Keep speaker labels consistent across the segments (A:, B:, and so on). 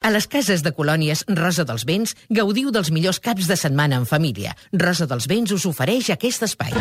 A: A les cases de colònies Rosa dels Vents gaudiu dels millors caps de setmana en família. Rosa dels Vents us ofereix aquest espai.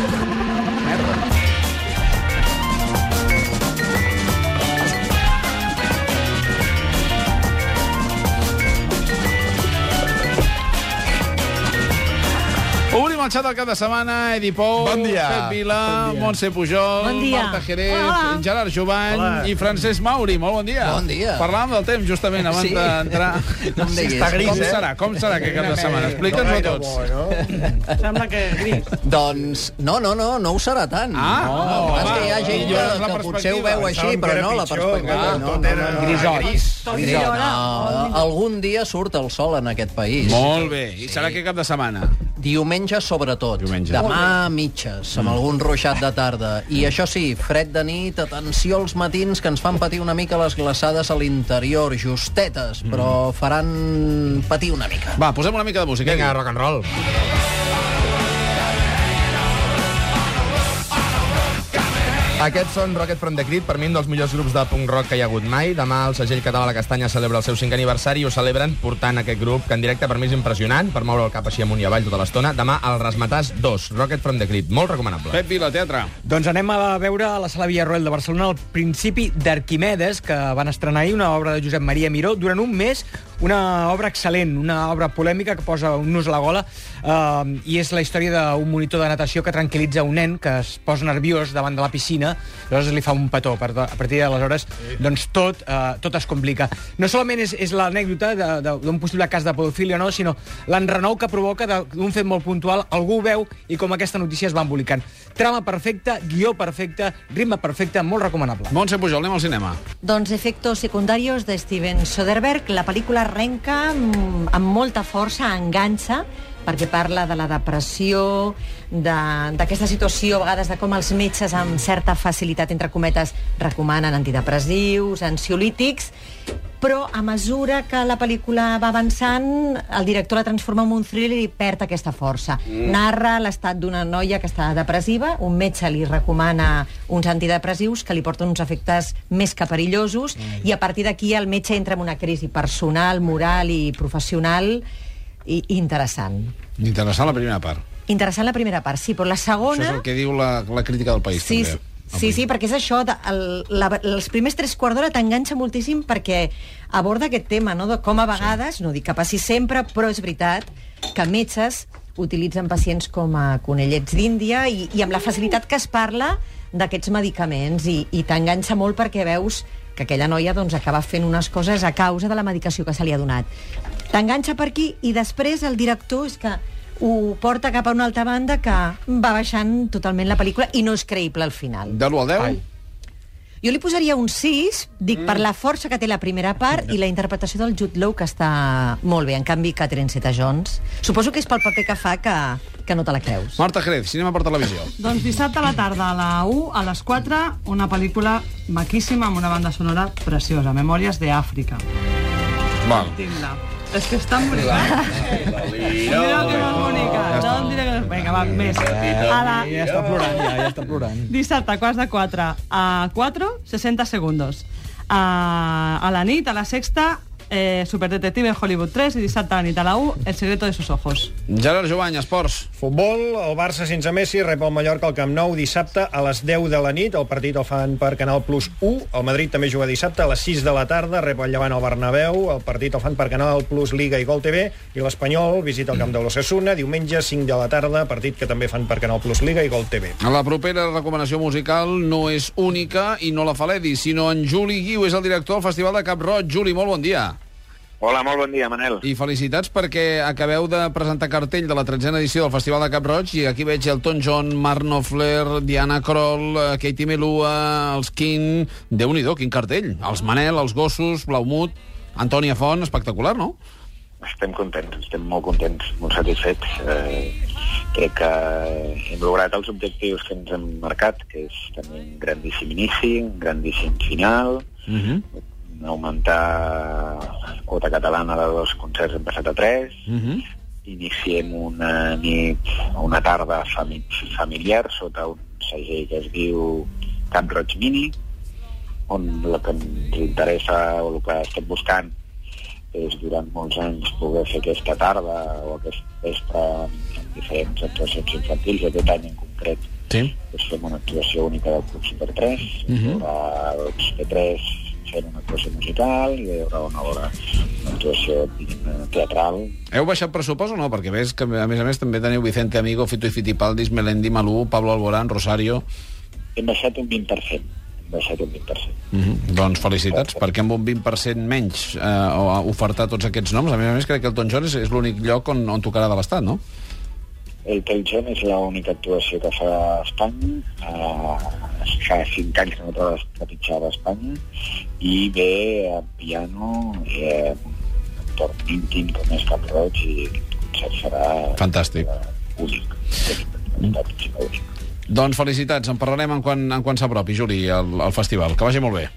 B: Obrim el xat el cap de setmana, Edi Pou,
C: Bon dia.
B: Pep Vila,
C: Bon dia.
B: Montse Pujol,
D: Bon dia.
B: Marta Jerez,
D: Hola.
B: Gerard Jovany
C: Hola.
B: i Francesc Mauri. Molt bon dia.
E: Bon dia.
B: Parlàvem del temps justament abans
E: Sí.
B: d'entrar.
E: No em diguis.
C: Està gris,
B: com
C: eh?
B: serà? Com serà aquest cap de setmana? Explica'ns-ho a tots.
D: Sembla que gris.
E: Doncs no, no, no, no ho serà tant.
B: Ah,
E: no,
B: no,
E: el
B: home,
E: que passa és que hi ha gent que,
B: millores la
E: que potser ho
B: perspectiva.
E: veu així, però no, la perspectiva no.
C: Tot era
E: no, no.
C: grisot.
D: Tot
E: Vull dir,
D: millora.
E: no, Algun dia surt el sol en aquest país.
B: Molt bé. I serà aquest cap de setmana?
E: Diumenge, sobretot.
B: Diumenge. Mm.
E: Demà a mitges, amb algun ruixat de tarda. I això sí, fred de nit, atenció als matins, que ens fan patir una mica les glaçades a l'interior, justetes,
B: Mm.
E: però faran patir una mica.
B: Va, posem una mica de música.
C: Vinga,
B: Edi.
C: rock and roll. Aquests són Rocket from the Crypt, per mi un dels millors grups de punk rock que hi ha hagut mai. Demà el segell català La Castanya celebra el seu cinquè aniversari i ho celebren portant aquest grup, que en directe per mi és impressionant, per moure el cap així amunt i avall tota l'estona. Demà al Rasmatàs 2, Rocket from the Crypt, molt recomanable.
B: Pep Vila, teatre.
F: Doncs anem a veure a la Sala Villarroel de Barcelona el principi d'Arquimedes, que van estrenar ahir una obra de Josep Maria Miró durant un mes, una obra excel·lent, una obra polèmica que posa un nus a la gola, eh, i és la història d'un monitor de natació que tranquil·litza un nen que es posa nerviós davant de la piscina, llavors li fa un petó. Per, a partir d'aleshores, doncs tot, eh, tot es complica. No solament és, és l'anècdota de- de- d'un possible cas de pedofilia, no, sinó l'enrenou que provoca de- d'un fet molt puntual, algú ho veu i com aquesta notícia es va embolicant. Trama perfecta, guió perfecte, ritme perfecte, molt recomanable.
B: Montse Pujol, anem al cinema.
G: Doncs efectos secundarios de Steven Soderbergh. La pel·lícula arrenca mm, amb molta força, enganxa, perquè parla de la depressió, de- d'aquesta de, situació, a vegades, de com els metges amb certa facilitat, entre cometes, recomanen antidepressius, ansiolítics, però a mesura que la pel·lícula va avançant, el director la transforma en un thriller i perd aquesta força. Mm. Narra l'estat d'una noia que està depressiva, un metge li recomana uns antidepressius que li porten uns efectes més que perillosos mm. i a partir d'aquí el metge entra en una crisi personal, moral i professional i i interessant.
B: Interessant la primera part.
G: Interessant la primera part, sí, però la
B: Això
G: segona...
B: és el que diu la, la crítica del país,
G: Sí,
B: també.
G: sí, sí, perquè és això, de, el, la, els primers tres quarts d'hora t'enganxa moltíssim perquè aborda aquest tema, no?, de com a vegades, sí. no dic que passi sempre, però és veritat que metges utilitzen pacients com a conellets d'Índia i, i amb la facilitat que es parla d'aquests medicaments i, i t'enganxa molt perquè veus que aquella noia doncs, acaba fent unes coses a causa de la medicació que se li ha donat. T'enganxa per aquí i després el director és que ho porta cap a una altra banda que va baixant totalment la pel·lícula i no és creïble al final.
B: De l'1 al 10? Ai.
G: Jo li posaria un 6, dic, mm. per la força que té la primera part i la interpretació del Jude Law, que està molt bé. En canvi, Catherine Zeta-Jones, suposo que és pel paper que fa que, que no te la creus.
B: Marta Jerez, cinema per televisió.
D: Doncs dissabte a la tarda, a la 1, a les 4, una pel·lícula maquíssima amb una banda sonora preciosa, Memòries d'Àfrica.
B: Val.
D: Tinc-la. És que és tan bonica. Mira que és bonica. No em diré que no és... Vinga, va, més. A la...
F: Ja està plorant, ja, ja està plorant.
D: Dissabte, quarts de 4 a 4, 60 segundos. A, a la nit, a la sexta, eh, Superdetective en Hollywood 3 i dissabte a la nit a la 1, El secreto de sus ojos.
B: Gerard Jovany, esports.
H: Futbol, el Barça sense Messi rep el Mallorca al Camp Nou dissabte a les 10 de la nit. El partit el fan per Canal Plus 1. El Madrid també juga dissabte a les 6 de la tarda, rep el Llevant al Bernabéu. El partit el fan per Canal Plus Liga i Gol TV. I l'Espanyol visita el Camp de l'Ossassuna diumenge 5 de la tarda, partit que també fan per Canal Plus Liga i Gol TV.
B: La propera recomanació musical no és única i no la fa l'Edi, sinó en Juli Guiu, és el director del Festival de Cap Roig. Juli, molt bon dia.
I: Hola, molt bon dia, Manel. I...
B: I felicitats perquè acabeu de presentar cartell de la tretzena edició del Festival de Cap Roig i aquí veig Elton John, Mark Knopfler, Diana Kroll, eh, Katie Melua, els King... déu nhi quin cartell. Els Manel, els Gossos, Blaumut, Antònia Font, espectacular, no?
I: Estem contents, estem molt contents, molt satisfets. Eh, crec que hem lograt els objectius que ens hem marcat, que és tenir un grandíssim inici, un grandíssim final,
B: Uh -huh.
I: Mhm. augmentar la quota catalana de dos concerts, hem passat a tres,
B: Uh -huh.
I: iniciem una nit, una tarda fami familiar sota un segell que es diu Camp Roig Mini, on el que ens interessa o el que estem buscant és durant molts anys poder fer aquesta tarda o aquest vespre en diferents actuacions infantils, aquest any en concret
B: Sí.
I: doncs fem una actuació única del Club Super 3, uh -huh. doncs P3 fent una actuació musical i hi haurà una hora una actuació diguem-ne, teatral
B: Heu baixat pressupost o no? Perquè ves que, a més a més, també teniu Vicente Amigo, Fito i Fitipaldis, Melendi, Malú, Pablo Alborán, Rosario...
I: hem baixat un 20%, hem baixat un 20%.
B: Mm -hmm. Doncs felicitats, perquè amb un 20% menys eh, o- ofertar tots aquests noms, a més a més crec que el Ton John és, és l'únic lloc on, on tocarà de l'Estat, no?
I: El Telgen és l'única actuació que fa a Espanya. Uh, fa cinc anys que no trobo que pitjava a Espanya. I ve a piano, eh, un torn íntim com és Cap Roig, i aquest concert serà
B: Fantàstic.
I: eh, únic. Mm.
B: Doncs felicitats, en parlarem en quan, en quan s'apropi, Juli, al, al festival. Que vagi molt bé.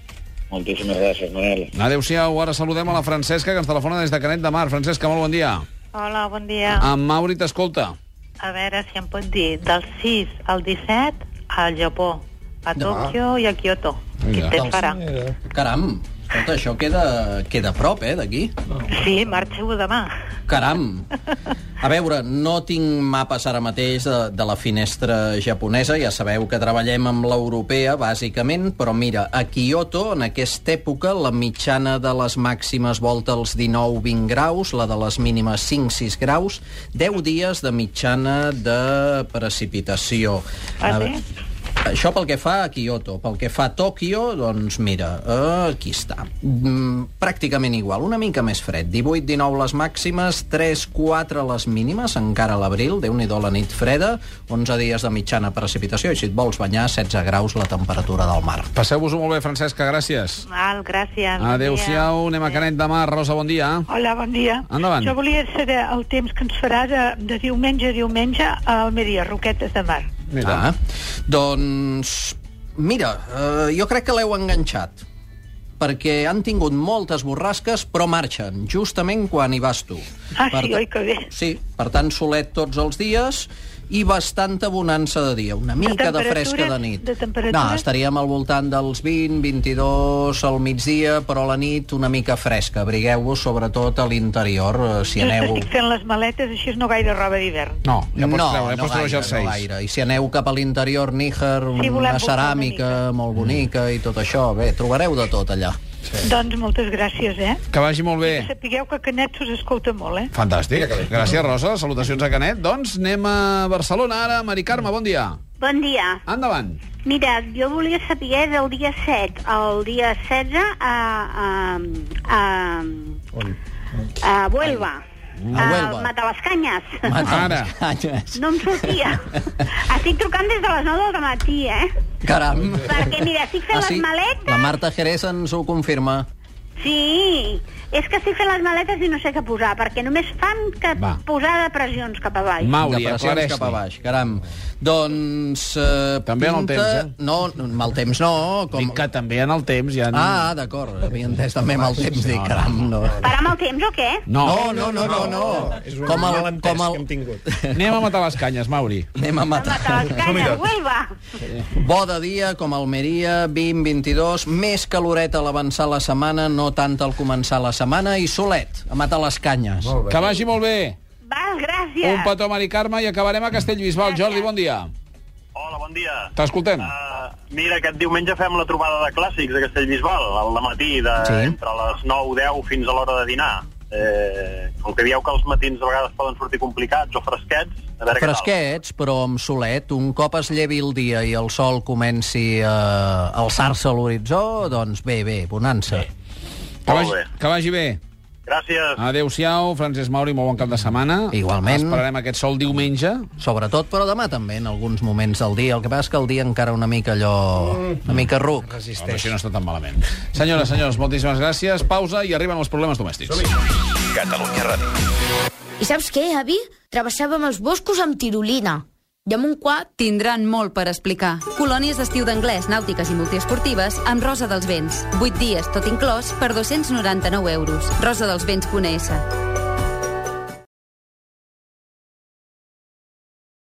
I: Moltíssimes gràcies, Manel.
B: Adéu-siau, ara saludem a la Francesca, que ens telefona des de Canet de Mar. Francesca, molt bon dia.
J: Hola, bon dia. Ah.
B: En Mauri t'escolta.
J: A veure si em pot dir, del 6 al 17 al Japó, a Tòquio i a Kyoto. Quin
B: Vinga.
J: temps farà?
E: Caram, escolta, això queda, queda a prop, eh, d'aquí.
J: Sí, marxeu demà.
E: Caram! A veure, no tinc mapes ara mateix de, de la finestra japonesa, ja sabeu que treballem amb l'europea, bàsicament, però mira, a Kyoto, en aquesta època, la mitjana de les màximes volta als 19-20 graus, la de les mínimes 5-6 graus, 10 dies de mitjana de precipitació.
J: Ah,
E: A
J: sí?
E: ve- això pel que fa a Kyoto. Pel que fa a Tòquio, doncs mira, eh, aquí està. Mm, pràcticament igual, una mica més fred. 18-19 les màximes, 3-4 les mínimes, encara a l'abril, déu nhi la nit freda, 11 dies de mitjana precipitació, i si et vols banyar, 16 graus la temperatura del mar.
B: Passeu-vos-ho molt bé, Francesca, gràcies.
J: Val, gràcies. bon
B: Adéu-siau,
J: dia.
B: anem a Canet de Mar. Rosa, bon dia.
K: Hola, bon dia.
B: Endavant.
K: Jo volia saber el temps que ens farà de, de diumenge a diumenge a Almeria, Roquetes de Mar.
B: Mira.
E: Ah, doncs, mira, eh, jo crec que l'heu enganxat perquè han tingut moltes borrasques, però marxen, justament quan hi vas tu.
K: Ah,
E: Per
K: sí,
E: tant-
K: oi que bé.
E: Sí, per tant, solet tots els dies i bastanta bonança de dia. Una mica de,
K: temperatures?
E: fresca de nit.
K: De temperatures?
E: No, estaríem al voltant dels 20, 22, al migdia, però a la nit una mica fresca. Abrigueu-vos, sobretot a l'interior, eh, si
K: Just
E: aneu...
K: estic fent les maletes, així no gaire roba d'hivern.
B: No, ja pots
E: no,
B: treure, ja
E: no,
B: pots treure
E: gaire, no
B: jerseis.
E: gaire. I si aneu cap a l'interior, Níger,
K: Sí, volem
E: una
K: buscar
E: ceràmica
K: una
E: molt bonica i tot això, bé, trobareu de tot
J: Ah,
E: allà.
K: Doncs moltes gràcies, eh?
B: Que vagi molt bé.
K: Sapigueu que Canet us escolta molt, eh?
B: Fantàstic. Gràcies, Rosa. Salutacions a Canet. Doncs anem a Barcelona ara. Mari Carme, bon dia.
J: Bon dia.
B: Endavant.
J: Mira, jo volia saber del dia 7 al dia 16 a... a, a a Huelva.
E: A Huelva.
J: Mata les canyes.
E: Mata
B: Ara.
E: les canyes.
J: Uh, No em sortia. Estic trucant des de les 9 del matí, eh?
E: Caram. Ah,
J: Perquè, mira, estic fent les maletes...
E: La Marta Jerez ens ho confirma.
J: Sí, és que estic fent les maletes i no sé què posar, perquè només fan que
B: Va.
J: Va. posar depressions cap avall. Ma...
B: Mauri,
E: Depressions
B: aclareix
E: cap a baix, caram. Doncs... Eh,
B: També en el
E: pinta...
B: temps, eh?
E: No, no, mal temps no. Com...
B: Dic que també en el temps ja...
E: Ah, d'acord, havia entès també mal temps. Dic, caram, no.
J: Parar amb el temps o què?
B: No.
E: No, no, no, no, no.
H: És un
E: Com el,
H: malentès
E: com
H: que hem
E: el...
H: tingut.
B: Anem a matar les canyes, Mauri.
E: Anem a matar.
J: Mata les canyes, Huelva.
E: Bo de dia, com a Almeria, 20-22, més caloreta a l'avançar la setmana, no tant al començar la setmana, i solet, a matar les canyes.
B: Que vagi molt bé.
J: Val, gràcies.
B: Un petó, Mari Carme, i acabarem a Castellbisbal. Jordi, bon dia.
I: Hola, bon dia.
B: T'escoltem.
I: Uh, mira, aquest diumenge fem la trobada de clàssics a Castellbisbal, al matí, de, sí. entre les 9-10 fins a l'hora de dinar. Eh, el que dieu que els matins de vegades poden sortir complicats o fresquets, a veure què
E: Fresquets, però amb solet, un cop es llevi el dia i el sol comenci eh, a alçar-se a l'horitzó, doncs bé, bé, bonança.
B: Que
I: molt
B: vagi,
I: bé.
B: que vagi bé.
I: tal. Gràcies.
B: Adéu-siau, Francesc Mauri, molt bon cap de setmana.
E: Igualment.
B: Esperarem aquest sol diumenge.
E: Sobretot, però demà també, en alguns moments del dia. El que passa és que el dia encara una mica allò... una mica ruc.
B: Home, això no està tan malament. Senyores, senyors, moltíssimes gràcies. Pausa i arriben els problemes domèstics.
I: Catalunya Ràdio.
L: I saps què, avi? Travessàvem els boscos amb tirolina. I amb un quad...
K: Tindran molt per explicar. Colònies d'estiu d'anglès, nàutiques i multiesportives amb Rosa dels Vents. 8 dies, tot inclòs, per 299 euros. Rosadelsvents.es